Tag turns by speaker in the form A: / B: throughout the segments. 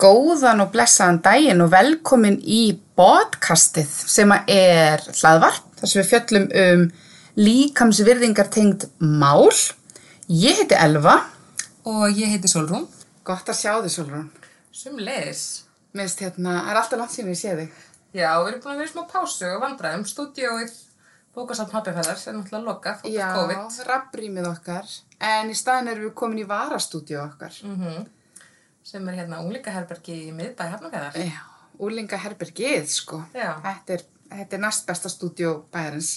A: góðan og blessaðan daginn og velkomin í podcastið sem að er hlaðvarp þar sem við fjöllum um líkamsvirðingar tengd mál. Ég heiti Elva.
B: Og ég heiti Solrún.
A: Gott að sjá þig, Solrún.
B: Sum leis.
A: Minnst hérna, það er alltaf langt síðan ég sé þig.
B: Já, við erum búin að vera í smá pásu og vandræðum. Stúdíóið, bókasafn Happifæðars er náttúrulega lokað út af COVID.
A: rafbrýmið okkar, en í staðin erum við komin í varastúdíu okkar. Mm.
B: Sem er hérna unglingaherbergi í miðbæ Hafnafæðar.
A: Já, úlingaherbergið, sko.
B: Já.
A: Þetta er, þetta er næst besta stúdíu bæðarins.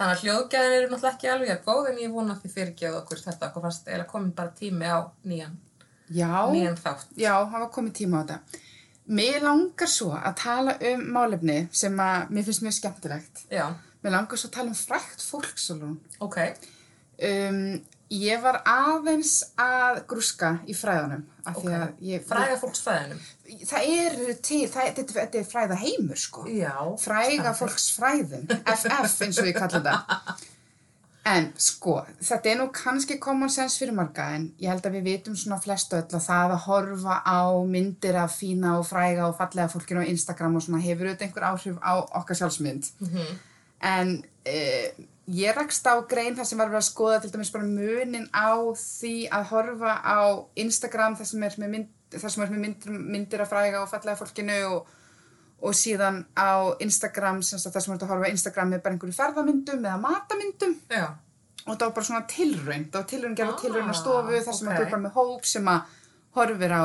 B: Þannig að hljóðgæðin eru náttúrulega ekki alveg að góð en ég vona að þið fyrirgjöðu okkur þetta. Okkur fannst eiginlega komin bara tími á nýjan,
A: Já.
B: nýjan þátt.
A: Já, það var komið tíma á þetta. Mér langar svo að tala um málefni sem að mér finnst mjög skemmtilegt.
B: Já,
A: Mér langar svo að tala um frækt fólk, Solon.
B: ok.
A: Um, ég var aðeins að grúska í fræðunum. Af því að ég...
B: Fræða fólksfræðinum.
A: Það eru til, það, þetta, þetta er fræða heimur, sko.
B: Já.
A: Fræga fólks fræðin. FF eins og ég kalla það. En sko, þetta er nú kannski common sense fyrir marga en ég held að við vitum svona flestu öll að það að horfa á myndir af fína og fræga og fallega fólkinu á Instagram og svona hefur auðvitað einhver áhrif á okkar sjálfsmynd. En e, ég rakst á grein þar sem var verið að skoða til dæmis bara munin á því að horfa á Instagram þar sem er með, mynd, þar sem er með myndir, myndir af fræga og fallega fólkinu og og síðan á Instagram, sem sagt það sem er að horfa á Instagram með bara einhverju ferðamyndum eða matamyndum
B: Já,
A: og það var bara svona tilraun, það var tilraun gerða
B: Ah,
A: tilraun á stofu þar sem
B: ok.
A: okay. að grupar með hóp sem að horfir á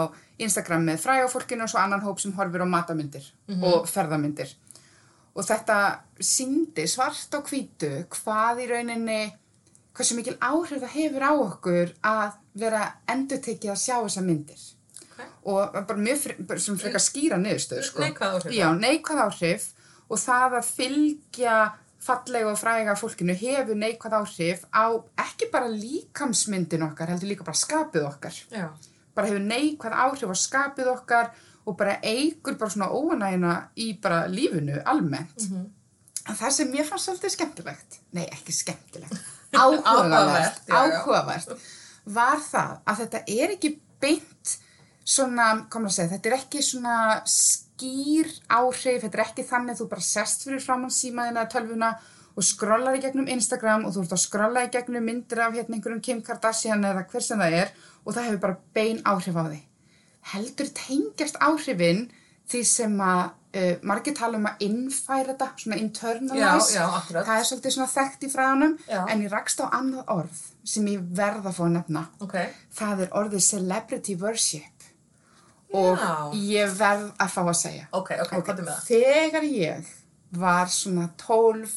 A: Instagram með fræga fólkinu og svo annan hóp sem horfir á matamyndir
B: Mhm.
A: og ferðamyndir og þetta síndi svart á hvítu hvað í rauninni hversu mikil áhrif það hefur á okkur að vera endurtekið að sjá þessar myndir
B: Ok.
A: og bara mjög fre- bara sem frekar skýra niðurstöð sko.
B: Neikvæð áhrif.
A: Já, neikvæð áhrif og það að fylgja fallega og fræga fólkinu hefur neikvæð áhrif á ekki bara líkamsmyndin okkar heldur líka bara skapið okkar
B: já.
A: bara hefur neikvæð áhrif á skapið okkar og bara eigur bara svona óanægina í bara lífinu almennt
B: Mhm.
A: En það sem mér fannst svolítið skemmtilegt nei ekki skemmtilegt áhugavert,
B: Áhugavert, já, já.
A: áhugavert var það að þetta er ekki beint svona, komur að segja, þetta er ekki svona skýr áhrif, þetta er ekki þannig að þú bara sest fyrir framann símaðina eða tölvuna og skrollar í gegnum Instagram og þú ert að skrolla í gegnum myndir af hérna einhverjum Kim Kardashian eða hver sem það er og það hefur bara bein áhrif á þig heldur tengjast áhrifin því sem að uh, margir tala um að innfæra þetta, svona internalize
B: Já, já, akkurat.
A: það er svolítið svona þekkt í fræðunum
B: Já.
A: en ég rakst á annað orð sem ég verð að fá að nefna
B: Ok.
A: það er orðið celebrity worship og
B: Já.
A: ég verð að fá að segja
B: Ok, ok,
A: Ok,
B: hvað er með það?
A: Þegar ég var svona 12,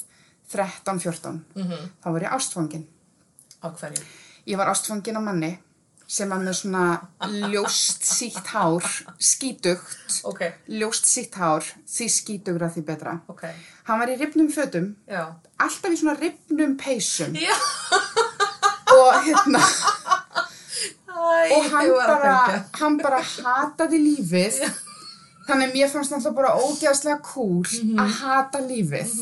A: 13, 14
B: Mhm.
A: þá var ég ástfangin
B: Á hverju?
A: ég var ástfangin á manni sem var með svona ljóst sítt hár, skítugt
B: Ok,
A: ljóst sítt hár, því skítugra því betra
B: ok.
A: hann var í rifnum fötum
B: Já.
A: alltaf í svona rifnum peysum
B: Já.
A: og hérna
B: Æ,
A: og hann
B: ég var að
A: bara,
B: tengja.
A: hann bara hataði lífið þannig að mér fannst náttúrulega bara ógeðslega cool
B: Mhm.
A: að hata lífið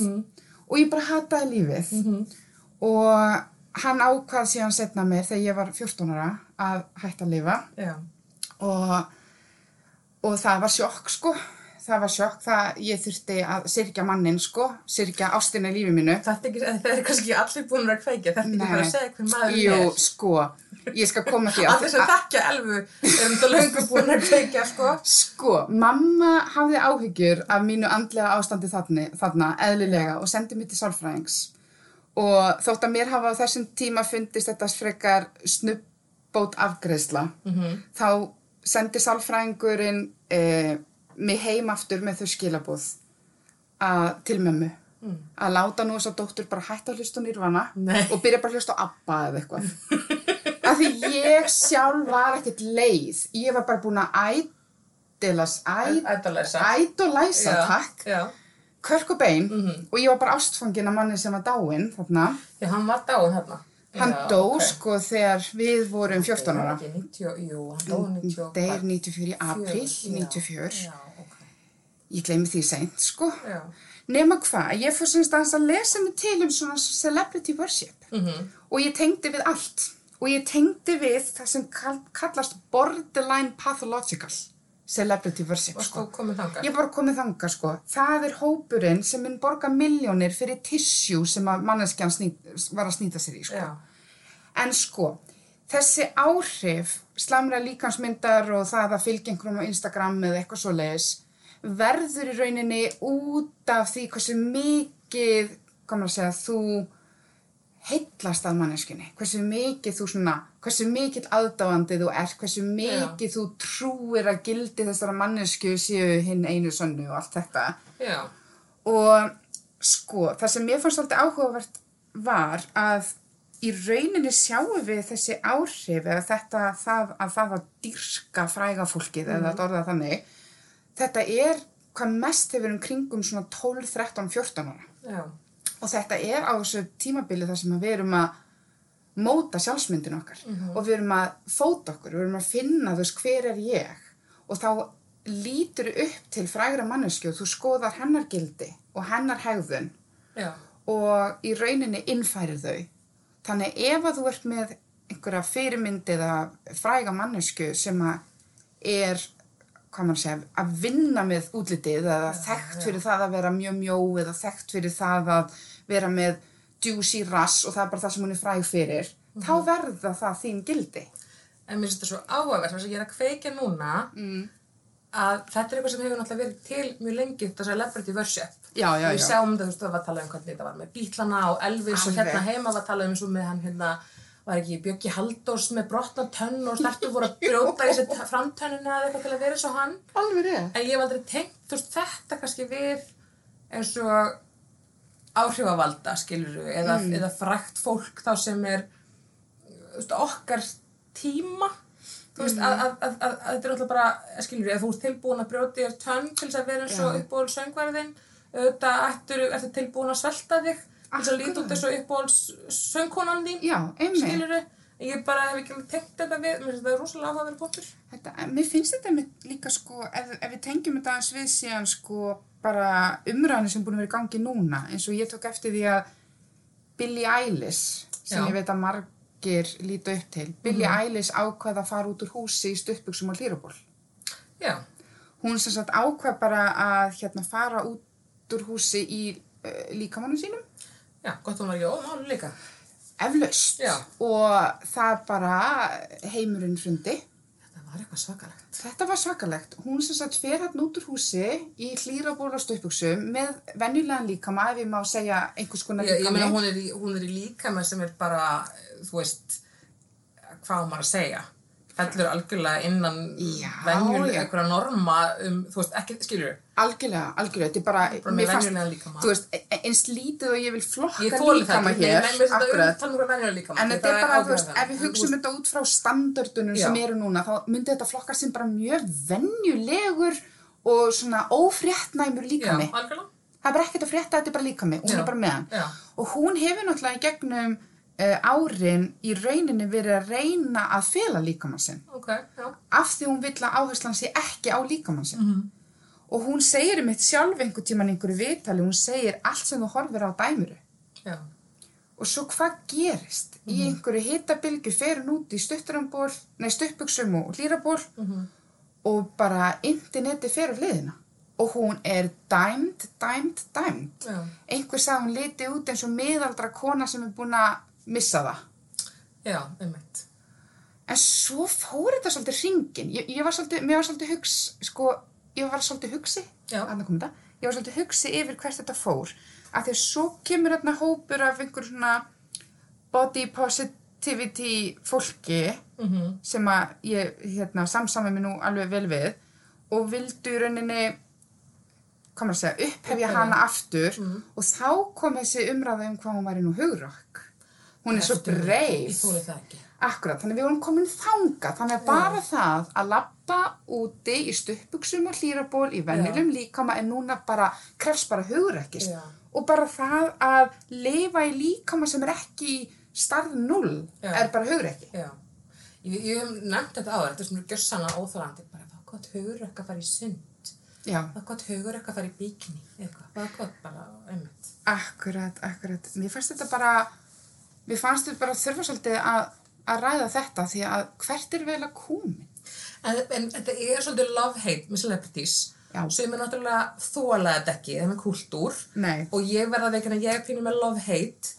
A: og ég bara hataði lífið
B: Mhm.
A: og hann ákvað síðan setna mér þegar ég var 14 ára að hætta að lifa
B: Já.
A: og, og það var sjokk sko það var sjokk það ég þurfti að syrkja mannin sko syrkja ástina í lífi mínu
B: Þetta er, ekki, þetta er kannski allir búin að kveikja, þetta er ekki
A: Nei.
B: bara að segja hver maður
A: Jú,
B: er.
A: sko, ég skal koma því
B: Allir sem þekkja elfu erum það löngu búin að kveikja, sko.
A: Sko, mamma hafði áhyggjur af mínu andlega ástandi þarna, þarna eðlilega og sendi mér til sálfræðings og þótt að mér hafa á þessum tíma fundist þetta frekar snubbót afgreðsla
B: Mhm.
A: -hmm. þá sendi sálfræðingurinn eh, mig heim aftur með þau skilabóð að, til mömmu að láta nú þess að dóttur bara hætta að hlusta á nýrvana
B: Mm. Nei.
A: og byrja bara að hlusta á Abba eða eitthvað af því ég sjálf var ekkert leið ég var bara búin að ædelas
B: Ættalæsa.
A: ædolæsa takk
B: Já, Mhm.
A: körk og bein og ég var bara ástfangin af manni sem var dáinn þarna
B: já hann var dáin hérna.
A: hann dó sko þegar við vorum 14 ára
B: Ekki 90, jú, hann dó 90.
A: deyr 94 í april 94
B: Já, ok.
A: ég gleymi því seint sko
B: Já.
A: nema hvað, ég fór semst aðeins að lesa mig til um svona celebrity worship -hmm. og ég tengdi við allt og ég tengdi við það sem kall- kallast borderline pathological celebrity worship sko.
B: Varst þú komin þangað?
A: Ég er bara komið þanga sko. Það er hópurinn sem mun borga miljónir fyrir tissjú sem að manneskjan snýt, var að snýta sér í sko.
B: Já,
A: En sko, þessi áhrif, slamra líkansmyndar og það að fylgja einhverjum á Instagram eða eitthvað svo leiðis, verður í rauninni út af því hversu mikið, hvað maður að segja, þú heitlast að manneskinni, hversu mikið þú svona, hversu mikill aðdáandi þú ert, hversu mikið þú trúir að gildi þessara mannesku séu hinn einu sönnu og allt þetta.
B: já,
A: Og sko, það sem mér fannst alltaf áhugavert var að í rauninni sjáum við þessi áhrif eða þetta það að það að dyrka fræga fólkið eða að orða þannig. Þetta er hvað mest hefur um kringum svona 12, 13, 14 ára.
B: já,
A: Og þetta er á þessu tímabili þar sem að við erum að móta sjálfsmyndin okkar og við erum að fóta okkur, við erum að finna þú veist hver er ég og þá lítur upp til frægra mannesku og þú skoðar hennar gildi og hennar hegðun
B: já,
A: og í rauninni innfærir þau. Þannig ef að þú ert með einhverja fyrirmynd eða fræga mannesku sem að er, hvað maður segja, að vinna með útlitið eða þekkt fyrir það að vera mjög mjó eða þekkt fyrir það að vera með juicy rass og það er bara það sem hún er fræg fyrir, þá verða það þín gildi.
B: en mér finnst þetta svo áhugað sem ég er að kveika núna mm. að þetta er eitthvað sem hefur náttúrulega verið til mjög lengi þetta celebrity worship
A: Já, já,
B: við
A: já.
B: sjáum þetta, þú veist, það var að tala um hvernig þetta var með bítlana og Elvis og
A: Alveg.
B: hérna heima var að tala um svo með hann hérna var ekki Bjöggi Halldórs með brotna tönn og startu voru að brjóta í sér framtönnina eða eitthvað til að vera svo hann
A: Alveg er.
B: en ég hef aldrei tengt þú veist, þetta kannski við eins og áhrifavalda skilur við eða, eða frækt fólk þá sem er þú veist, okkar tíma þú veist að, að, að, að, að þetta er alltaf bara skilur við að þú ert tilbúin að brjóti þér tönn til þess að vera eins og
A: Já.
B: uppból söngvarðin auðvitað ertu, ertu tilbúin að svelta þig til þess að líta út eins og uppból söngkonan þín
A: Já, einmitt.
B: skilur við ég bara hef ekki tengt þetta við mér finnst þetta rosalega áhuga að vera bóttur
A: Þetta, mér finnst þetta með líka sko, ef, ef við tengjum þetta aðeins við síðan sko bara umræðinu sem búin að vera í gangi núna, eins og ég tók eftir því að Billie Eilish, sem
B: Já. Mhm.
A: ég veit að margir lítu upp til, Billie Eilish ákvað að fara út úr húsi í stuttbuksum og hlýraból.
B: já,
A: Hún sem sagt ákvað bara að hérna fara út úr húsi í uh, líkamannum sínum,
B: já, gott hún var ekki ómáli líka
A: eflaust,
B: Já.
A: og það bara heimurinn hrundi.
B: Þetta var eitthvað svakalegt.
A: Þetta var svakalegt. Hún sem sagt fer hann út úr húsi í hlýraból og stöpuksum með venjulegan líkama, ef ég má segja einhvers konar
B: Ég, ég meina
A: líkama.
B: hún er, í, hún er í líkama sem er bara, þú veist, hvað á maður að segja. Fellur algjörlega innan
A: Já,
B: venjun
A: já.
B: einhverja norma um, þú veist, ekki, skilur við,
A: Algjörlega, algjörlega. Þetta er bara,
B: bara með venjulega líkama.
A: þú veist, e- eins lítið og ég vil flokka
B: ég þóli það,
A: líkama
B: ekki,
A: hér,
B: nei, menn veist þetta um
A: akkurat.
B: tala um venjulega líkama.
A: En
B: því
A: þetta er bara, þú veist,
B: áhrifavald.
A: ef við hugsum um þetta út frá standardunum
B: Já.
A: sem eru núna, þá myndi þetta flokka sem bara mjög venjulegur og svona ófréttnæmur
B: Já,
A: líkami.
B: algjörlega.
A: það er bara ekkert að frétta, þetta er bara líka mig, hún
B: Já,
A: er bara með hann.
B: já.
A: Og hún hefur náttúrulega í gegnum uh, árin í rauninni verið að reyna að fela líkamann sinn
B: Ok, já.
A: af því hún vill að áherslan sé ekki á líkamann sinn.
B: Mhm.
A: Og hún segir um eitt sjálf einhver tíman einhverju viðtali, hún segir allt sem þú horfir á dæmuru.
B: Já,
A: Og svo hvað gerist? Í
B: Mhm.
A: einhverju hitabilgu fer hún út í stutturamból, nei stuttbuksum og hlýraból
B: Mhm.
A: og bara interneti fer af liðina. Og hún er dæmd, dæmd, dæmd
B: já.
A: einhver sagði að hún liti út eins og miðaldra kona sem er búin að missa það.
B: Já, einmitt.
A: En svo fór þetta svolítið hringin. Ég, ég var svolítið, mér var svolítið hugs, sko, ég var svolítið hugsi,
B: Já.
A: annað kom þetta, ég var svolítið hugsi yfir hvert þetta fór. Af því að svo kemur þarna hópur af einhver svona body positivity fólki
B: Mhm.
A: sem að ég hérna, samsami mig nú alveg vel við og vildu í rauninni hvað maður að segja, upphefja hana aftur
B: Mhm.
A: og þá kom þessi umræða um hvað hún væri nú hugrakk hún er svo
B: Heftu- Ég
A: breyf
B: þóli það ekki.
A: akkurat, þannig við vorum komin þanga þannig að bara það að lappa úti í stuppuksum og hlýraból í venjulegum líkama en núna bara krefst bara hugrakkist
B: Já.
A: og bara það að lifa í líkama sem er ekki í starð 0
B: Já.
A: er bara hugrakki
B: Já, ég, ég hef nefnt þetta áður, þetta er svona gjössanna óþólandi, bara hvað gott hugur ekki að fara í sund,
A: Já.
B: hvað gott hugur ekki að fara í bíkni, eitthvað, hvað gott bara, einmitt.
A: Akkurat, akkurat. Mér fannst þetta bara, mér fannst þetta bara þurfa svolítið að, að ræða þetta því að hvert er vel að komin?
B: En, en þetta er svolítið love-hate með celebrities
A: Já.
B: sem er náttúrulega þólaða dekki, það er með kultúr
A: Nei.
B: og ég verða veginn að ég er pínu með love-hate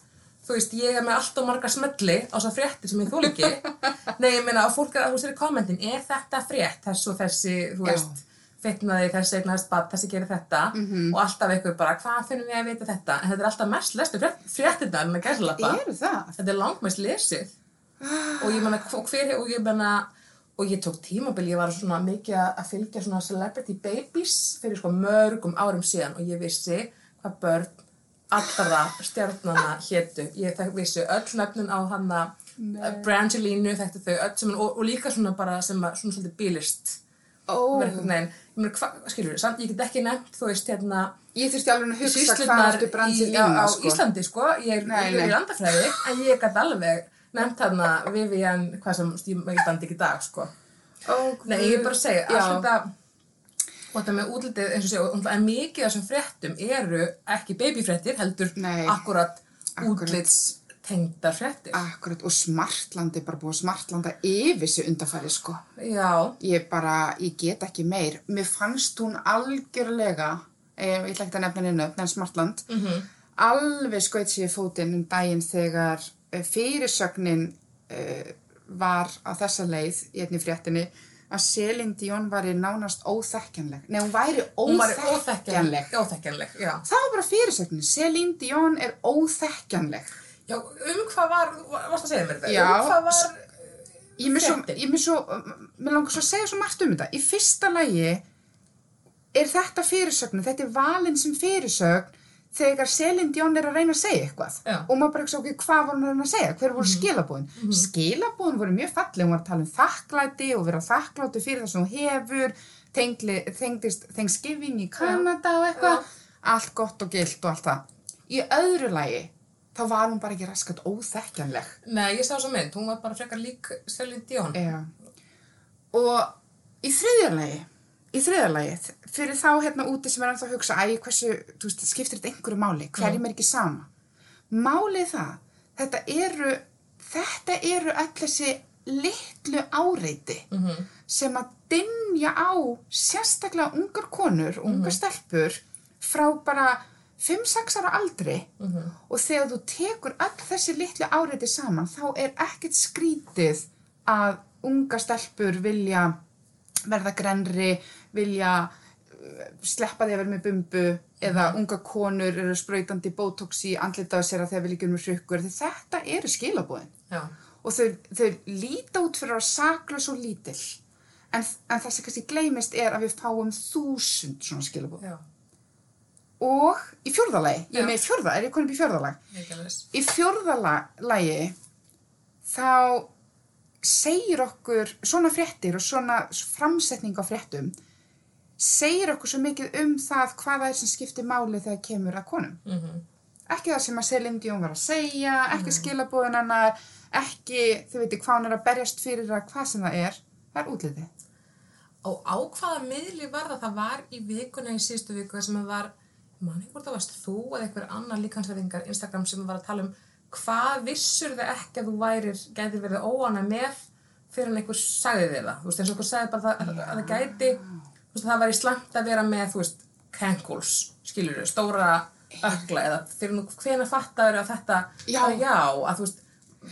B: þú veist, ég er með allt og marga smelli á þess að frétti sem ég þól ekki nei, ég meina, og fólk er að þú sér í kommentin er þetta frétt, þess og þessi þú
A: Já.
B: veist, fitnaði, þessi eignast bad, þessi gerir þetta
A: Mhm.
B: og alltaf eitthvað bara, hvað finnum við að vita þetta en þetta er alltaf mest lestu fréttina en að gæslappa
A: Eru það?
B: þetta er langmest lesið og ég menna og hver og ég menna og ég tók tímabil, ég var svona mikið að að fylgja svona celebrity babies fyrir sko mörgum árum síðan og ég vissi hvað börn allra stjarnana hétu ég þekk- vissi öll nöfnin á hana Nei. Brangelínu þekkti þau öll sem, og, og líka svona bara sem að, svona svolítið bílist
A: Ó,
B: Nein, ég meina, hva, skilur, samt, ég get ekki nefnt þú veist hérna
A: ég þurfti alveg að hugsa hvað
B: sýslurnar
A: aftur brandi
B: í- á,
A: lína,
B: á
A: sko.
B: Íslandi sko, ég er,
A: Nei,
B: ég er
A: nei.
B: í landafræði en ég gæti alveg nefnt þarna Vivian, hvað sem stýmur í bandi ekki í dag sko.
A: Ó,
B: Nei, ég er bara að segja, allt
A: Já.
B: þetta og þetta með útlitið eins og segja, og en mikið af þessum fréttum eru ekki babyfréttir heldur
A: Nei.
B: akkurat
A: Akkúrat.
B: útlitstengdar fréttir
A: Akkurat, og smartlandi, bara búið að smartlanda yfir sig undarfæri, sko.
B: Já,
A: Ég bara, ég get ekki meir. Mér fannst hún algjörlega, eh, ég ætla ekki að nefna henni nöfn, en smartland,
B: Mhm.
A: -hmm. alveg skoitt sér í fótinn um daginn þegar eh, fyrirsögnin eh, var á þessa leið í einni fréttinni að Selin Dion væri nánast óþekkjanleg. Nei, hún væri
B: hún var
A: óþekkjanleg.
B: óþekkjanleg, óþekkjanleg já.
A: Það var bara fyrirsögnin. Selin Dion er óþekkjanleg.
B: já, um hvað var, varst að segja mér þetta?
A: Já.
B: Um hvað var
A: ég mér svo,
B: Fréttin.
A: ég mér svo, mér langar svo að segja svo margt um þetta. Í fyrsta lagi er þetta fyrirsögnu, þetta er valin sem fyrirsögn þegar Selin Dion er að reyna að segja eitthvað
B: Já.
A: og maður bara ekki svo ekki hvað var hún að reyna að segja, hver voru skilabóðin. Skilabóðin voru mjög falleg, hún var að tala um þakklæti og vera þakkláttu fyrir það sem hún hefur, tengli, tengdist Thanksgiving í Kanada og eitthvað, allt gott og gilt og allt það. Í öðru lagi, þá var hún bara ekki raskat óþekkjanleg.
B: Nei, ég sá þessa mynd, hún var bara frekar lík Selin Dion.
A: Já. Og í þriðjarlægi, í þriðjarlægi, fyrir þá hérna úti sem er ennþá að hugsa, æ, hversu, þú veist, skiptir þetta einhverju máli, hverjum er ekki sama. Málið er það, þetta eru, þetta eru öll þessi litlu áreiti -hmm. sem að dynja á sérstaklega ungar konur, ungar stelpur, frá bara 5-6 ára aldri -hmm. og þegar þú tekur öll þessi litlu áreiti saman, þá er ekkert skrítið að unga stelpur vilja verða grenri, vilja uh, sleppa því að vera með bumbu eða unga konur eru sprautandi botox í andlitaðu sér að þegar við líkjum með hrykkur. Því Þetta eru skilabóðin
B: Já.
A: og þau, þau líta út fyrir að sakla svo lítill. En, en það sem kannski gleymist er að við fáum þúsund svona skilabóð.
B: Já,
A: Og í fjórðalagi, ég
B: Já.
A: er með fjórða, er ég konum í fjórðalagi?
B: mikið leys.
A: Í fjórðalagi þá segir okkur svona fréttir og svona framsetning á fréttum segir okkur svo mikið um það hvað það er sem skiptir máli þegar kemur að konum.
B: Mm -hmm.
A: Ekki það sem að Selin Dion var að segja, ekki mm.
B: Mhm.
A: skilabóðin hennar, ekki þau veitir hvað hún er að berjast fyrir að hvað sem það er, það er útlitið.
B: Og á hvaða miðli var það? Það var í vikunni í síðustu viku þar sem það var, mann ekki hvort það varst þú eða einhver annar líkansverðingar Instagram sem var að tala um hvað vissur þið ekki að þú værir, gæti verið óana með fyrir en einhver sagði þið það. Þú veist, eins og einhver sagði bara það, að, að það gæti, þú veist, það væri slæmt að vera með, þú veist, cankles, skilur þau, stóra ökla eða fyrir nú hvena fattaður að þetta,
A: Já.
B: að já, að þú veist,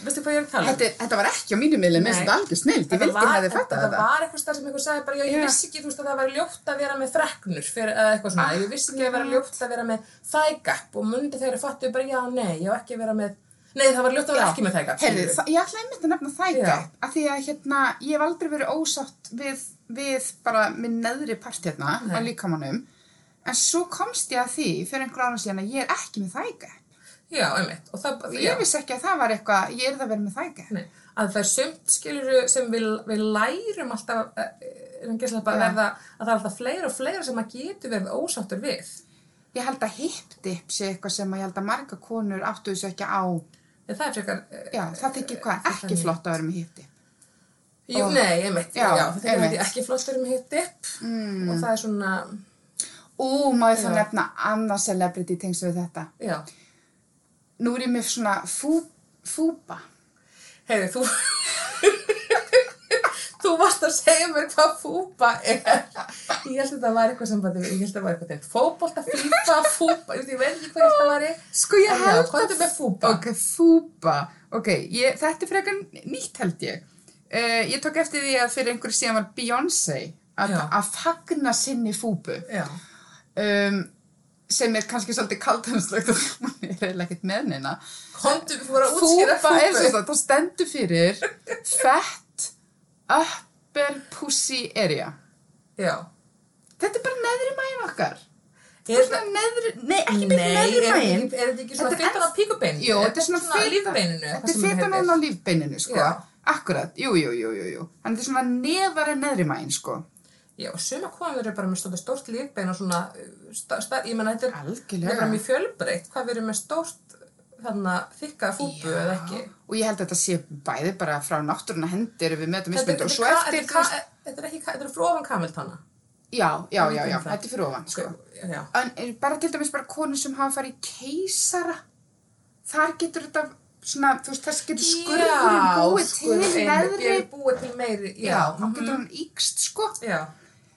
B: veistu hvað ég er að tala um?
A: Þetta, er- þetta var ekki á mínu miðlum,
B: Nei.
A: minnst þetta algjör snild, ég
B: Þetta
A: vildi
B: var-
A: hefði fætta
B: þetta
A: þetta.
B: var eitthvað starf sem einhver sagði bara, já, ég
A: Já.
B: vissi ekki, þú veist, að það væri ljótt að vera með freknur fyrir, eða eitthvað svona,
A: Ah,
B: ég vissi ekki að vera ljótt að vera með þægap og mundi þegar ég fattu bara, já, nei, ég á ekki að vera með, nei, það var ljótt að vera ekki með þægap.
A: Herri, það, ég ætla einmitt að nefna það í
B: Já.
A: gætt af því að hérna, ég hef aldrei verið ósátt við, við bara minn neðri part hérna á líkamannum en svo komst ég að því fyrir einhver ára síðan að ég er ekki með það í gætt
B: Já, einmitt, og það, já.
A: ég vissi ekki að það var eitthvað, ég er það verið með það í gætt
B: Nei, að það er sumt skilur sem við, við lærum alltaf, eh, er hann gæslega bara
A: Já.
B: að verða, að það er alltaf fleira og fleira sem að getur verið ósáttur við.
A: ég held að hip-dip sé eitthvað sem að ég held að marga konur áttuðu sér ekki á
B: En það er frekar, eh,
A: já, það þykir hvað, ekki
B: þannig.
A: flott að vera með hip-dip
B: jú, nei, einmitt, já,
A: Já,
B: það er
A: einmitt.
B: ekki flottur um hitt upp mm. og það er svona,
A: ú, má ég þá
B: Já.
A: nefna annað celebrity tengs við þetta
B: já.
A: nú er ég með svona fú, fúba
B: Heiði, þú... þú varst að segja mér hvað fúpa er ég held að þetta var eitthvað sambandi við- ég held að þetta var eitthvað til fótbolta, fífa, fúpa ég veit ekki hvað þetta var
A: Sko ég
B: En já,
A: held
B: komdu með fúpa.
A: Ok, fúpa. Ok, ég, þetta er frekar nýtt held ég. Uh, ég tók eftir því að fyrir einhverju síðan var Beyoncé að,
B: Já.
A: að fagna sinni fúbu
B: já,
A: um, sem er kannski svolítið kaldanslögt og hún er eiginlega ekkert með neina.
B: komdu við vorum að útskýra
A: Fúpa er
B: fúpu
A: svo það, það stendur fyrir fett upper pussy area.
B: já,
A: Þetta er bara neðri maginn okkar.
B: er
A: Þetta er neðri, nei,
B: Nei,
A: ekki
B: er
A: beint neðri
B: þetta
A: maginn.
B: ekki, er þetta
A: Þetta
B: ekki svona
A: er
B: fytan
A: enn-
B: á píkubeininu?
A: Jú, þetta er svona fita-
B: lífbeininu,
A: Þetta er fyrta
B: heitir.
A: núna á lífbeininu, sko.
B: Já.
A: Akkurat, jú, jú, jú, jú, jú. Þannig þetta er svona nefari neðri mæn, sko.
B: Já, og suma konur eru bara með stórt, stórt lífbein og svona, uh, sta, sta, ég menna þetta er,
A: Algjörlega.
B: þetta er bara mjög fjölbreytt, hvað við erum með stórt, þarna, þykka fúbu
A: Já.
B: eða ekki.
A: Og ég held að þetta sé bæði bara frá náttúruna hendir við með þetta mismynd og svo
B: ka-
A: eftir,
B: þetta
A: þú veist,
B: er, ka- þetta er ekki, ka- þetta er frá ofan kamiltana.
A: já, já, já, já,
B: um það.
A: þetta er fyrir ofan, sko.
B: Já,
A: En er bara til dæmis bara konur sem hafa farið í keisara, þar getur þetta svona, þú veist, þess getur skurðurinn búið til
B: einmitt,
A: neðri.
B: ég er búið til meiri, já,
A: Já, þá
B: mhm,
A: getur hann íkst, sko.
B: já.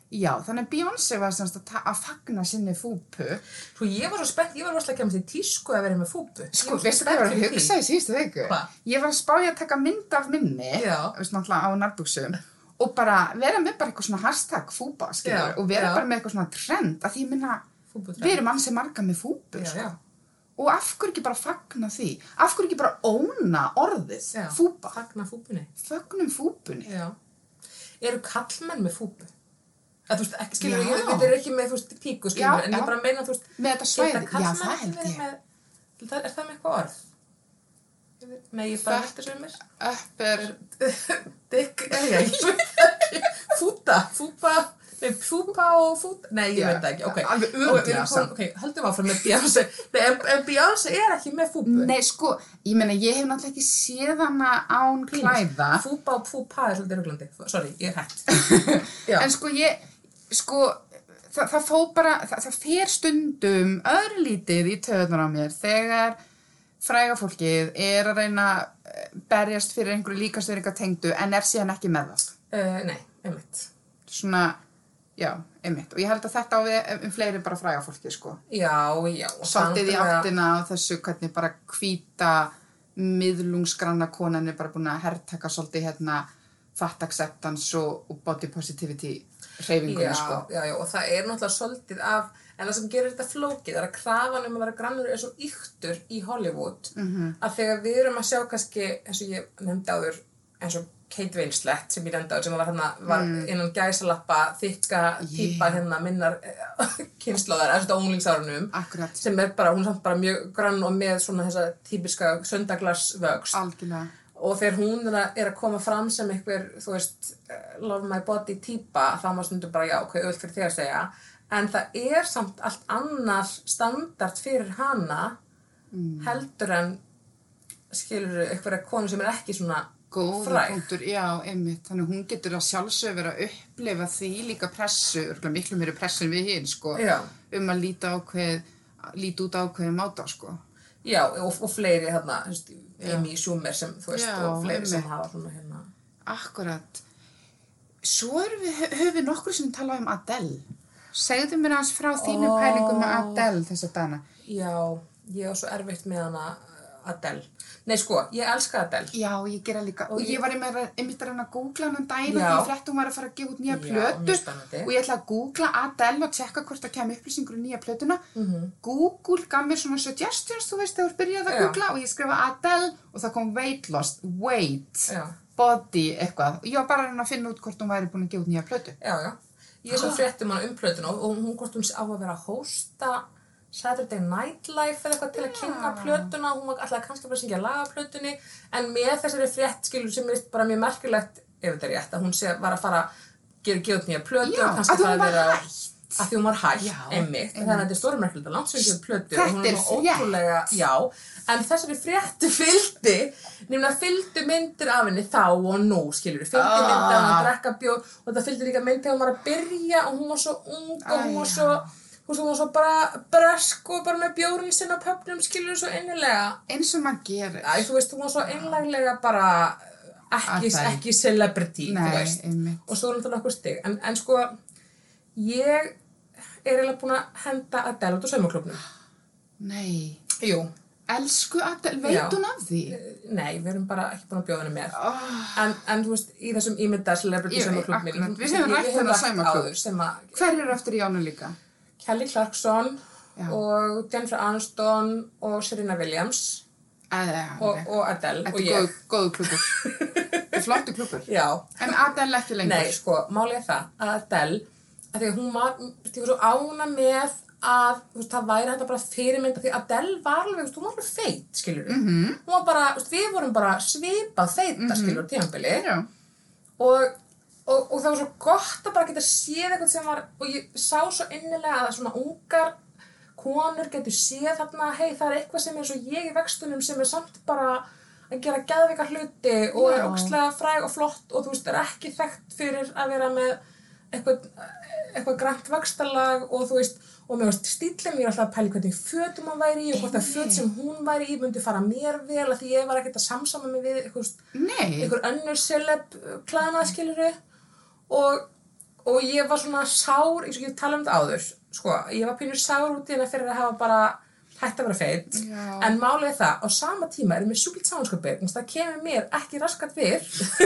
A: Já, þannig að Beyoncé var semst að, ta- að fagna sinni fúpu.
B: Svo Sko, ég var svo spennt, ég var rosalega að kemast í tísku að vera með fúbu. Ég
A: Sko,
B: var svo
A: veistu hvað ég var
B: spennt
A: að
B: fyrir því.
A: hugsa í síðustu viku?
B: Hva?
A: Ég var að spája að taka mynd af minni,
B: Já.
A: þú veist, náttúrulega á nærbuksum, og bara vera með bara eitthvað svona hashtag fúba, skilur,
B: Já,
A: og vera
B: já.
A: bara með eitthvað svona trend, að því ég minna,
B: Fúbutrend.
A: við erum ansi marga með fúbu,
B: Já,
A: sko.
B: já.
A: Og af hverju ekki bara fagna því? Af hverju ekki bara óna orðið,
B: Já,
A: sko, fúba?
B: fagna fúbunni
A: Fögnum fúbunni.
B: já. eru kallmenn með fúbu Eða, þú veist, ekki, skilur,
A: Já.
B: ég, þetta er ekki með þú veist, píku skilur,
A: Já,
B: en
A: já.
B: ég bara meina þú veist,
A: Með þetta
B: geta
A: svæði, já,
B: karlmenn
A: það
B: ekki
A: held
B: verið
A: ég.
B: með, það, er það með eitthvað orð Ég veit- nei, ég bara
A: Fat-
B: hætti sem mér
A: Öppur,
B: Dick, er ég ég veit ekki fúta, fúpa Nei, fúpa og fúta, nei ég
A: Já,
B: veit það ekki, ok
A: alveg
B: Ok, við
A: örugglega
B: erum
A: samt.
B: komin- Ok, höldum áfram með Beyoncé Nei, en, en Beyoncé er ekki með fúbu
A: nei sko, ég meina ég hef náttúrulega ekki séð hana án klæða.
B: Fúpa og fúpa er svolítið ruglandi Sorry, ég er hætt Já.
A: en sko ég sko það, það fó bara það, það fer stundum örlítið í töðunar á mér þegar fræga fólkið er að reyna eh, berjast fyrir einhverju líkastöðringa tengdu en er síðan ekki með það
B: uh, Nei, einmitt
A: svona, já, einmitt og ég held að þetta á við um fleiri bara fræga fólkið sko
B: Já, já.
A: svolítið
B: og
A: í
B: það náttúrulega-
A: áttina á þessu hvernig bara hvíta miðlungsgranna konan er bara búin að herrtaka svolítið hérna fat acceptance og, og body positivity
B: Já,
A: hreyfinguna sko
B: já, já, og það er náttúrulega svolítið af, en það sem gerir þetta flókið er að krafan um að vera grannur er svo yktur í Hollywood -hmm. að þegar við erum að sjá kannski, eins og ég nefndi áður, eins og Kate Winslet sem ég nefndi áður, sem var, hana, var innan gæsalappa, þykka, yeah. típa hérna, minnar kynnslóðar, eftir unglingsárunum,
A: Akkurat.
B: sem er bara, hún er samt bara mjög grann og með svona þessa típiska söndaglarsvöxt.
A: Algjörlega.
B: og þegar hún er að, er að koma fram sem einhver, þú veist, eh, love my body típa, þá maður stundum bara já, ok, öll fyrir þig að segja, en það er samt allt annar standard fyrir hana
A: Mm.
B: heldur en skilur einhverja konu sem er ekki svona
A: Góður
B: fræg.
A: punktur, já, einmitt. Þannig að hún getur að sjálfsög vera að upplifa því líka pressu, örgulega miklu meiri pressu en við hinn, sko,
B: Já.
A: um að líta ákveð, líta út ákveðið máta, sko.
B: Já, og, og fleiri hérna, þú veist, Amy Schumer sem, þú veist,
A: Já,
B: og fleiri sem
A: einmitt.
B: hafa svona hérna.
A: Akkurat. Svo erum við, höfum við nokkur sem talað um Adele. Segðu mér aðeins frá þínum
B: Ó.
A: pælingum með Adele þessa dana.
B: Já, ég er svo erfitt með hana eh, Adele. Nei, sko, ég elska Adele.
A: Já, ég gera líka. Og, ég var einmitt að- einmitt að reyna að googla hann um daginn
B: Já.
A: og því frétt hún var að fara að gefa út nýja
B: Já,
A: plötu
B: mjög spennandi.
A: og ég ætla að googla Adele og tjekka hvort það kemur upplýsingur um nýja plötuna. Google gaf mér svona suggestions, þú veist, þegar þú byrjaði að
B: Mhm. Já.
A: googla og ég skrifa Adele og það kom weight loss, weight,
B: Já.
A: body, eitthvað. Og ég var bara að reyna að finna út hvort hún væri búin að gefa út nýja plötu.
B: Já, já. Ég
A: Ah.
B: svo frétt um hana umplötun og og hún hvort hún á að vera að hósta Saturday Night Live eða eitthvað til að kynna plötuna hún var alltaf kannski bara að syngja lagaplötunni en með þessari frétt skilur sem er bara mjög merkilegt ef þetta er rétt að hún sé, var að fara að gera gjóð nýja plötu
A: Já,
B: og kannski
A: að hún
B: það
A: var
B: vera-
A: hætt.
B: að því hún var hætt,
A: Já,
B: einmitt þannig að þetta er stórmerkilegt að landsfengjum plötu og hún
A: Þetta er
B: er svo ótrúlega, já en þessari fréttu fylgdi nefnilega fylgdu myndir af henni þá og nú, skilur við, fylgdu
A: Ah.
B: myndir af henni að drekka bjóð og það fylgdu líka mynd þegar hún var að byrja og hún var svo ung og hún var
A: Æ,
B: svo hún svo- hún var svo bara brösk og bara með bjórinn sinn á pöpnum skilur við svo innilega
A: Eins og maður gerir.
B: Æ, þú veist, hún var svo einlaglega bara ekki,
A: Að það-
B: ekki celebrity, þú
A: Nei,
B: veist
A: einmitt.
B: og svo er náttúrulega okkur stig en, en sko, ég er eiginlega búin að henda Adele út á saumaklubnum
A: Nei.
B: Jú,
A: Elsku Adel,
B: Já.
A: veit hún af því?
B: nei, við erum bara ekki búin að bjóða henni mér
A: Oh,
B: en, en þú veist, í þessum ímynda celebrity
A: Ég veit,
B: saumaklubnum
A: akkurat. Við höfum rætt þennan saumaklúbb.
B: sem að
A: hver eru eftir í ánum líka?
B: Kelly Clarkson
A: Já.
B: og Jennifer Aniston og Serena Williams
A: Eða,
B: og, og Adele
A: Þetta
B: og
A: er
B: ég.
A: góð, góðu klubur. Þetta er flottu klubur.
B: Já.
A: En Adel ekki lengur.
B: Nei, sko, málið er það að Adele, að því að hún var, því var svo ána með að, þú veist, það væri þetta bara fyrirmynda því Adele var alveg, þú veist, hún var alveg feit, skilur við. Mm
A: Mhm.
B: -hmm. Hún var bara, þú veist, við vorum bara svipað feita, mm -hmm. skilur við, tímanbili.
A: Já.
B: og, og, og það var svo gott að bara geta séð eitthvað sem var og ég sá svo innilega að svona ungar konur getur séð þarna hei það er eitthvað sem er svo ég í vextunum sem er samt bara að gera geðveika hluti og er
A: Já.
B: ókslega fræg og flott og þú veist er ekki þekkt fyrir að vera með eitthvað, eitthvað grænt vextalag og þú veist og mér veist stílum ég er alltaf að pæli hvernig fötum hann væri í og hvort að föt sem hún væri í myndi fara mér vel að því ég var ekkert að samsama mig við eitthvað,
A: Nei.
B: einhver önnur celeb uh, klæðnað skiluru og, og ég var svona sár eins og ég tala um þetta áður sko, ég var pínur sár út í hennar fyrir að hafa bara hætt að vera feit
A: Já.
B: en málið er það, á sama tíma erum við sjúkilt samanskapið, það kemur mér ekki raskat við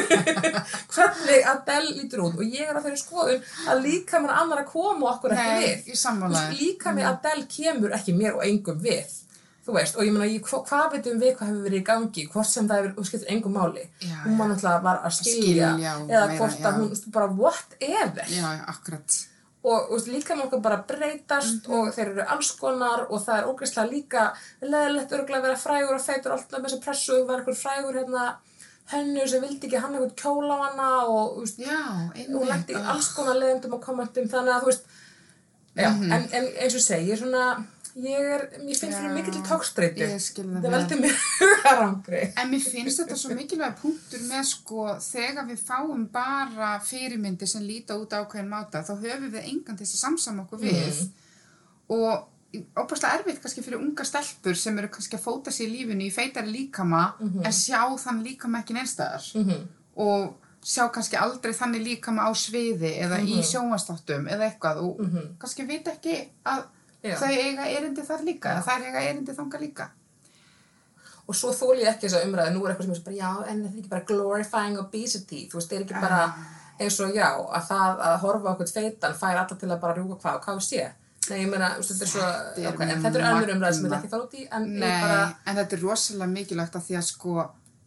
B: hvernig Adele lítur út og ég er á þeirri skoðun að líka mér annar að koma okkur ekki
A: Nei,
B: við
A: í sammálaði.
B: líka með Adele kemur ekki mér og engum við þú veist, og ég meina, ég- hva- hvað veitum við hvað hefur verið í gangi, hvort sem það hefur og skiptir engum máli,
A: Já,
B: hún var náttúrulega var að skilja,
A: Skilja og
B: eða
A: meira,
B: hvort
A: já.
B: að hún, þú veist, bara whatever
A: Já, já, akkurat.
B: og, og líka með okkur bara breytast
A: Mhm.
B: og þeir eru alls konar og það er ógeðslega líka leðilegt örgulega að vera frægur og feitur alltaf með þessa pressu, var einhver frægur hérna hennu sem vildi ekki hann einhvern kjóla á hana og þú veist,
A: Já,
B: hún
A: einmitt.
B: lendi í alls konar leðendum og kommentum þannig að þú veist já,
A: Mhm.
B: en, en eins og ég segi, ég er svona ég er, ég finn fyrir
A: Já,
B: mikill tókstreitu
A: ég skil það
B: það
A: vel.
B: veldi mér hugarangri
A: En mér finnst þetta svo mikilvæg punktur með sko þegar við fáum bara fyrirmyndir sem líta út ákveðin máta þá höfum við engan til þess að samsama okkur við og opaslega erfitt kannski fyrir unga stelpur sem eru kannski að fóta sér í lífinu í feitari líkama en sjá þann líkama ekki neinstæðar mm -hmm. og sjá kannski aldrei þannig líkama á sviði eða í sjónvastáttum eða eitthvað og kannski vita ekki að
B: Já.
A: þau eiga erindi þar líka eða þær eiga erindi þanga líka.
B: og svo þóli ég ekki þess að umræða nú er eitthvað sem er svo bara já, en þetta er ekki bara glorifying obesity þú veist, það er ekki bara
A: Ah.
B: eins og já, að það að horfa okkur tveitan fær alla til að bara rjúka hvað og hvað sé Nei, ég meina, þú veist, þetta er svo,
A: Þetta er
B: ok, en þetta er önnur umræða sem ég vil
A: magnað.
B: ekki fara út í, en
A: Nei,
B: ég bara,
A: en þetta er rosalega mikilvægt að því að sko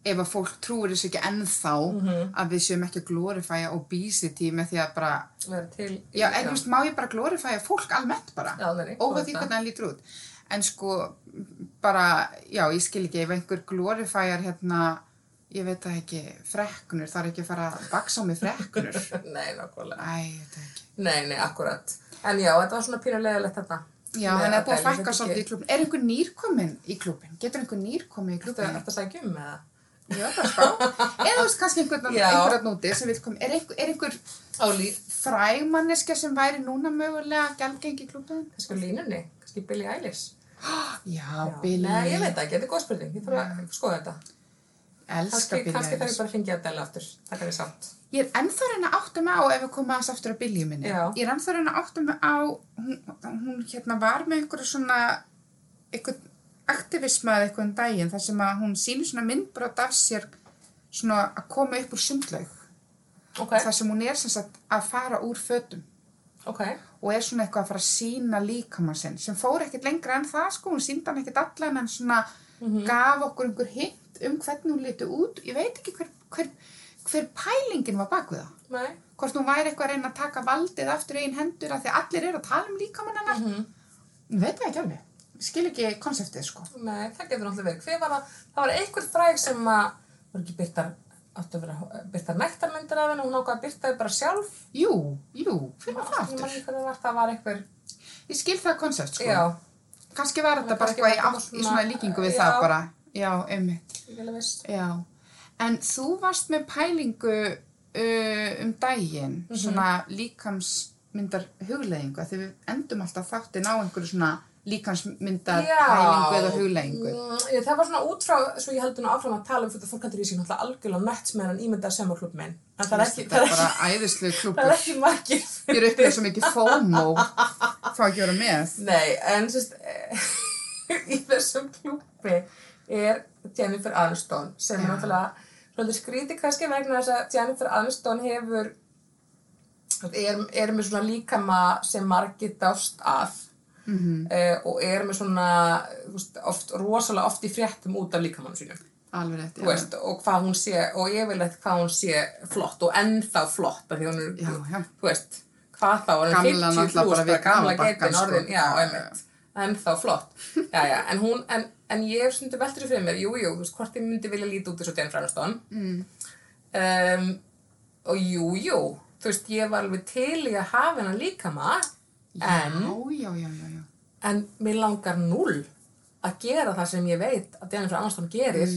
A: ef að fólk trúir þessu ekki ennþá að við séum ekki að glorifæja obesity með því að bara
B: vera til,
A: já, en þú veist, má ég bara glorifæja fólk almennt bara,
B: Já, nei, nei,
A: óhvað
B: þú
A: því
B: veist
A: hvernig hann lítur út en sko, bara já, ég skil ekki, ef einhver glorifæjar hérna, ég veit það ekki freknur, það er ekki að fara að baksa á mig freknur,
B: nei, nákvæmlega.
A: æ, þetta ekki
B: Nei, nei, akkurat. En já, þetta var svona pínulegilegt þetta.
A: Já, en það er búið að fækka svolítið í klubin. Er einhver nýrkomin í klubin? Getur einhver nýrkomin í
B: Þetta
A: klubin?
B: er þetta sækja um með það.
A: Já, bara spá. Eða þú veist kannski einhvern
B: Já.
A: einhverjum núti sem vil koma. Er einhver, er einhver
B: Á líf.
A: fræmanniska sem væri núna mögulega gælgengi í klubin?
B: Kannski á línunni, kannski Billie Eilish.
A: Já,
B: Já. Nei, ég
A: Billy.
B: veit það ekki, þetta er góð spurning. Ég þarf að skoða þetta.
A: Mm. Elska
B: Kannski,
A: Billy.
B: kannski þarf
A: Eilish.
B: ég bara að hringja að dela aftur. Það er sátt.
A: Ég er ennþá að reyna að átta mig á ef við komum aðeins aftur að Billy minni.
B: Já.
A: Ég er ennþá að reyna að átta mig á, hún, hún hérna var með einhverju svona, einhvern aktivisma eða eitthvað um daginn þar sem að hún sýnir svona myndbrot af sér svona að koma upp úr sundlaug.
B: Ok,
A: Þar sem hún er sem sagt að fara úr fötum.
B: ok.
A: og er svona eitthvað að fara að sína líkamann sinn sem fór ekkert lengra en það sko, hún síndi hann ekkert allan en svona
B: Mhm.
A: gaf okkur einhver hint um hvernig hún liti út, ég veit ekki hver, hver, hver pælingin var bak við það
B: Nei.
A: hvort hún væri eitthvað að reyna að taka valdið aftur í einn hendur af því að allir eru að tala um líkamann hennar
B: Mhm.
A: ég veit það ekki alveg, ég skil ekki konseptið sko
B: Nei, það getur náttúrulega verið. Hver var það? Það var einhver fræg sem að, var ekki byrtar, áttu að vera, byrtar nektarmyndir af henni, hún ákvað að byrta þau bara sjálf.
A: jú, jú, hvernig var það
B: Ég man
A: aftur?
B: ekki hver það var, það var einhver,
A: ég skil það konsept sko
B: já,
A: kannski var þetta bara
B: Kannski
A: eitthvað í,
B: var þetta
A: átt- í
B: svona-
A: svona líkingu við
B: Já.
A: það bara já, einmitt
B: ég vil að veist.
A: Já, en
B: Mhm.
A: þú varst með pælingu uh, um daginn, svona líkams
B: Já.
A: hælingu eða hugleðingu
B: Mm, ég- það var svona út frá, svo ég heldur nú áfram að tala um fyrir fólkandur í sín alltaf algjörlega mött með hann ímyndað sömurklub minn. En það er ekki,
A: þetta er
B: það er ekki,
A: bara æðislu
B: það er
A: klubur
B: ekki margir.
A: ég er upplega svo mikið FOMO fá ekki að vera með
B: Nei, en sérst, í þessum klúpi er Jennifer Aniston sem er
A: Já.
B: náttúrulega svolítið skrítið kannski vegna þess að Jennifer Aniston hefur er, er með svona líkama sem margir dást að mm og er með svona þú veist, oft, rosalega oft í fréttum út af líkamanum sínum
A: alveg rétt,
B: þú veist, og hvað hún sé og yfirleitt hvað hún sé flott og ennþá flott af því hún er,
A: Já, já.
B: þú veist hvað þá, er hún
A: Gamla
B: 50
A: náttúrulega bara
B: plús,
A: við
B: bara sko, gamla
A: gamla
B: geitin
A: bakkann,
B: orðin
A: sko.
B: já,
A: Já,
B: einmitt, ennþá flott já, já, en hún, en, en ég hef stundu veltur í fyrir mér, jú, jú, þú veist, hvort ég myndi vilja líta út þessu Jennifer Aniston mm. um, og jú, jú þú veist, ég var alveg til í að hafa hennar líkama en,
A: já, já, já, já.
B: en mér langar null að gera það sem ég veit að Jennifer Aniston gerir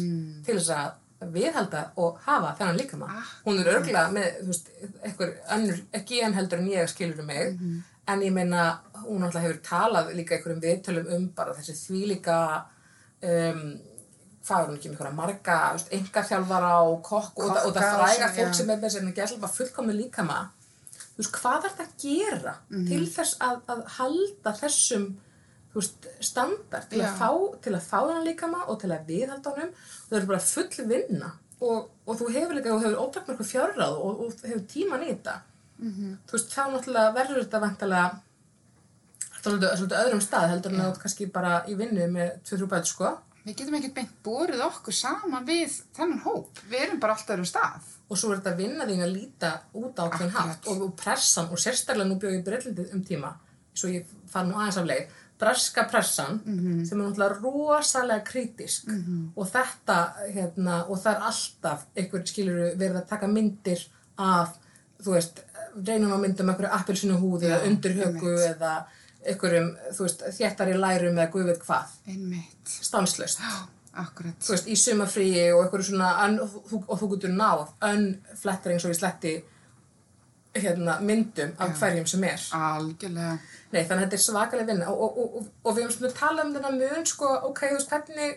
B: til þess að viðhalda og hafa þennan líkama
A: Akkurat.
B: hún er örgulega með þú veist, einhver önnur, ekki en heldur en ég skilur mig en ég meina hún alltaf hefur talað líka einhverjum viðtölum um bara þessi þvílíka um, hvað er hún ekki með einhverja marga þú veist, engarþjálfara og kokk og, það- og það
A: Kokka og
B: fræga
A: svona,
B: fólk
A: já.
B: sem er með sem er gæslega bara fullkomin líkama þú veist, hvað er þetta að gera
A: Mhm.
B: til þess að, að halda þessum þú veist, standard til
A: Já.
B: að, fá, til að fá hann líkama og til að viðhalda honum og það er bara full vinna og, og þú hefur líka, þú hefur ótakmörku fjárráð og, og hefur tíman í þetta
A: Mhm.
B: þú veist, þá náttúrulega verður þetta vantalega svolítið, svolítið öðrum stað heldur en að þú ert kannski bara í vinnu með 2-3 bæti sko
A: við getum ekkert beint borið okkur saman við þennan hóp við erum bara alltaf öðrum stað
B: og svo er þetta vinna þín að líta út á hvern
A: Akkurat.
B: hátt og, og pressan og sérstaklega nú bjóð ég breytlindið um tíma svo ég far nú aðeins af leið breska pressan sem er náttúrulega rosalega kritisk og þetta hérna, og það er alltaf einhver skilur verið að taka myndir af þú veist, reynum að mynda með einhverju appelsinu húð eða undirhöku eða einhverjum, þú veist, þéttari lærum eða guð veit hvað,
A: einmitt,
B: stanslöst
A: akkurat
B: þú veist, í sumafríi og eitthvað svona un, og, þú, og þú getur náð önflettar eins og ég sletti hérna, myndum af hverjum sem er
A: algjörlega
B: Nei, þannig að þetta er svakalega vinna og, og, og, og, og við höfum svona talað um þennan mun sko, ok, þú veist, hvernig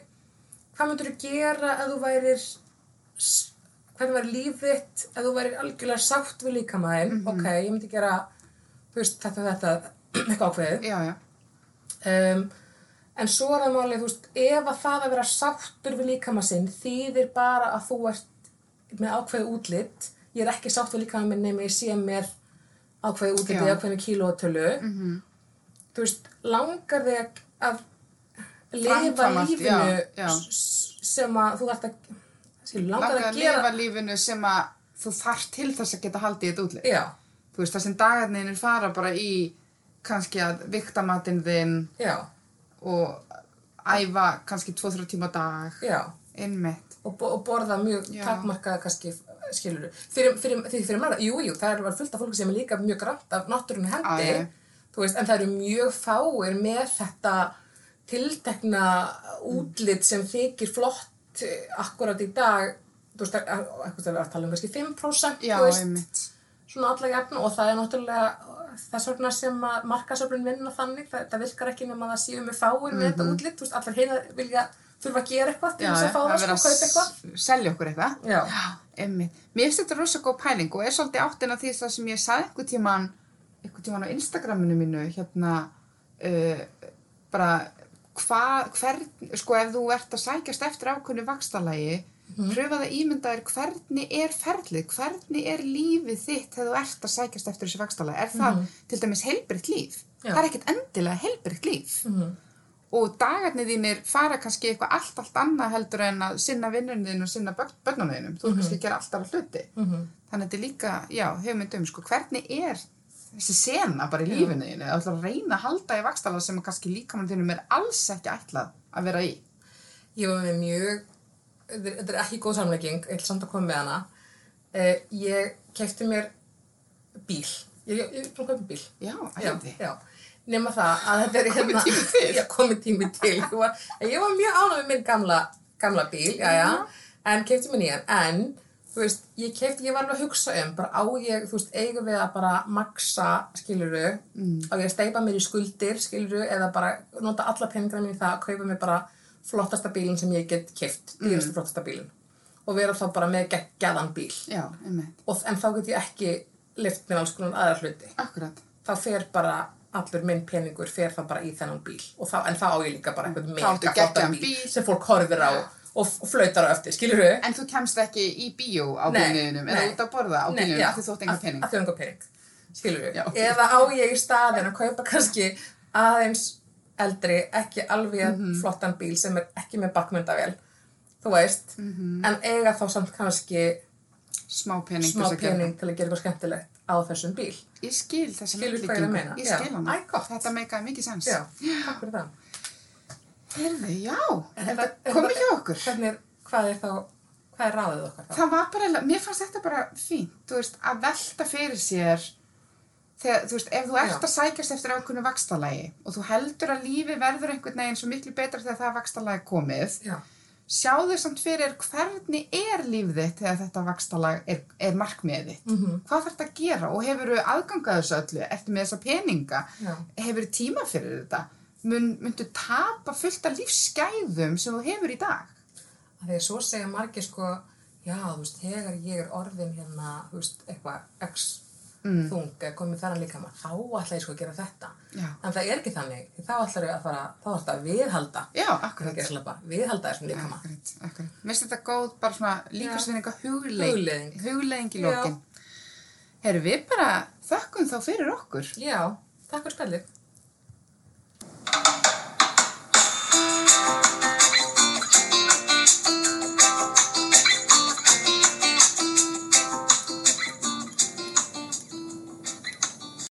B: hvað myndur þú gera ef þú værir s- hvernig væri líf þitt ef þú værir algjörlega sátt við líkamæðin ok, ég myndi gera þú veist, þetta, þetta, eitthvað ákveðið
A: já, já,
B: um, en svo er það málið, þú veist, ef að það að vera sáttur við líkama sinn þýðir bara að þú ert með ákveðu útlitt ég er ekki sátt við líkama minn nema ég sé með ákveðu útlitt
A: Já. Mhm.
B: eða ákveðinu kílótölu -hmm. þú veist, langar þig að lifa
A: Framkvæma allt,
B: lífinu
A: já, já.
B: s- sem að þú ert að skilur, langar
A: langar
B: þig
A: að
B: að gera
A: lifa lífinu sem að þú þarf til þess að geta haldið þetta útli
B: já,
A: þú veist, það sem dagarnir fara bara í kannski að vikta matinn þinn
B: já,
A: og æfa kannski 2-3 tíma á dag
B: já
A: einmitt,
B: og, bo og borða mjög
A: Já.
B: takmarkað kannski skilur fyrir, fyrir, fyrir, fyrir marga, jú, jú, það er var fullt af fólki sem er líka mjög grænt af náttúrunni hendi
A: Já, já.
B: þú veist, en það eru mjög fáir með þetta tiltekna útlit sem þykir flott eh, akkurat í dag þú veist, það er eitthvað að tala um kannski 5%
A: já,
B: þú veist,
A: einmitt
B: svona alla jafn og það er náttúrulega þess vegna sem að markasöflun vinna þannig, það, það virkar ekki nema að það séu með fáir með þetta útlit, þú veist, allar heina vilja þurfa að gera eitthvað til
A: Mhm. já,
B: þess að fá það
A: vera
B: sko, kaupa eitthvað
A: s- selja okkur eitthvað
B: Já.
A: einmitt, mér finnst þetta rosa góð pæling og er svolítið áttin af því það sem ég sagði einhver tíman einhver tíman á Instagraminu mínu hérna uh, bara hva, hvern, sko ef þú ert að sækjast eftir ákunni vakstalagi
B: Mhm.
A: pröfa það ímynda þér hvernig er ferlið, hvernig er lífið þitt þegar þú ert að sækjast eftir þessu vakstalagi er það til dæmis heilbrikt líf
B: Mhm. Já. Mhm.
A: það er ekkert endilega heilbrikt líf og dagarnir þínir fara kannski eitthvað allt, allt annað heldur en að sinna vinnunum þínu og sinna börnunum þínum.
B: Mhm.
A: Þú er kannski að gera allt aðra hluti. -hmm. Þannig að þetta er líka, já, hugmynd um, sko, hvernig er þessi sena bara í lífinu þínu? Það ætlar að reyna að halda í vakstala sem að kannski líkamann þínum er alls ekki ætlað að vera í.
B: Ég var með mjög, þetta er- þetta er ekki góð samlegging, ég ætla samt að koma með hana. Eh, ég kefti mér bíl. Ég, ég, ég brúið að kaupa bíl.
A: Já,
B: Já,
A: ætti.
B: já. Nema það að þetta er hérna... Komið
A: tími til.
B: Já, komið tími til. Ég var, ég var mjög ánæg með minn gamla, gamla bíl, já, já. En kefti mér nýjan. En þú veist, ég kefti, ég var alveg að hugsa um, bara á ég, þú veist, eigum við að bara maksa, skiluru, mm. á ég að steipa mér í skuldir, skiluru, eða bara nota alla peningana mín í það að kaupa mér bara flottasta bílinn sem ég get keft, dýrasta flottasta bílinn og vera þá bara með geggjaðan bíl
A: Já, einmitt.
B: og, en þá get ég ekki lift mér alls konar aðra hluti
A: Akkurat.
B: þá fer bara allur minn peningur fer það bara í þennan bíl og þá, en þá á ég líka bara einhvern
A: Mm, áttu
B: mega flottan
A: geggjaðan
B: bíl,
A: bíl.
B: sem fólk horfir á og, og flautar á eftir, skilur við?
A: En þú kemst ekki í bíó á bílniðinum eða út að borða á bílniðinum af því þú átt enga pening.
B: Af því þú átt enga pening, skilur við?
A: Já.
B: Eða á ég í staðin að kaupa kannski aðeins eldri, ekki alveg
A: Mhm.
B: flottan bíl sem er ekki með bakmyndavél, þú veist, en eiga þá samt kannski
A: Smá Mhm. pening. til
B: smá
A: þess að gera
B: pening til að gera eitthvað skemmtilegt á þessum bíl.
A: það. Ég skil þessi
B: Skilur hvað ég er að
A: myndlíkingu.
B: meina?
A: Ég
B: Já.
A: skil hana.
B: Æ, gott.
A: Þetta meikaði mikið sens.
B: Já, takk fyrir það.
A: Heyrðu, já.
B: En
A: Þetta
B: en
A: komið hjá okkur.
B: Hvernig, hvað er þá, hvað er ráðið okkar þá?
A: Það var bara, eiginlega- mér fannst þetta bara fínt, þú veist, að velta fyrir sér þegar, þú veist, ef þú ert
B: Já.
A: að sækjast eftir ákveðnu vakstalagi og þú heldur að lífi verður einhvern veginn svo miklu betra þegar það vakstalagi er komið,
B: Já,
A: sjáðu samt fyrir hvernig er líf þitt þegar þetta vakstalag er, er markmiðið þitt.
B: Mhm.
A: Hvað þarf þetta að gera og hefur þú aðgangað þessu öllu, ertu með þessa peninga,
B: Já.
A: hefur þú tíma fyrir þetta, Mun, myndu tapa fullt af lífsgæðum sem þú hefur í dag.
B: af því að svo segja margir sko, já, þú veist, þegar ég er orðin hérna, þú veist, eitthvað x
A: Mm.
B: þung, eða komið þaran líka maður, þá ætla ég sko að gera þetta.
A: Já.
B: En það er ekki þannig, því þá ætlar ég að fara, þá ætlar það að viðhalda,
A: Já,
B: það er
A: akkurat.
B: ekki að slappa, viðhalda þessum líka maður.
A: Akkurat, akkurat. Mér finnst þetta góð bara svona líkasvinninga hugleik,
B: Hugleiðing.
A: hugleiðing í
B: Já.
A: lokin. Herru, við bara þökkum þá fyrir okkur.
B: Já, takk fyrir spellið.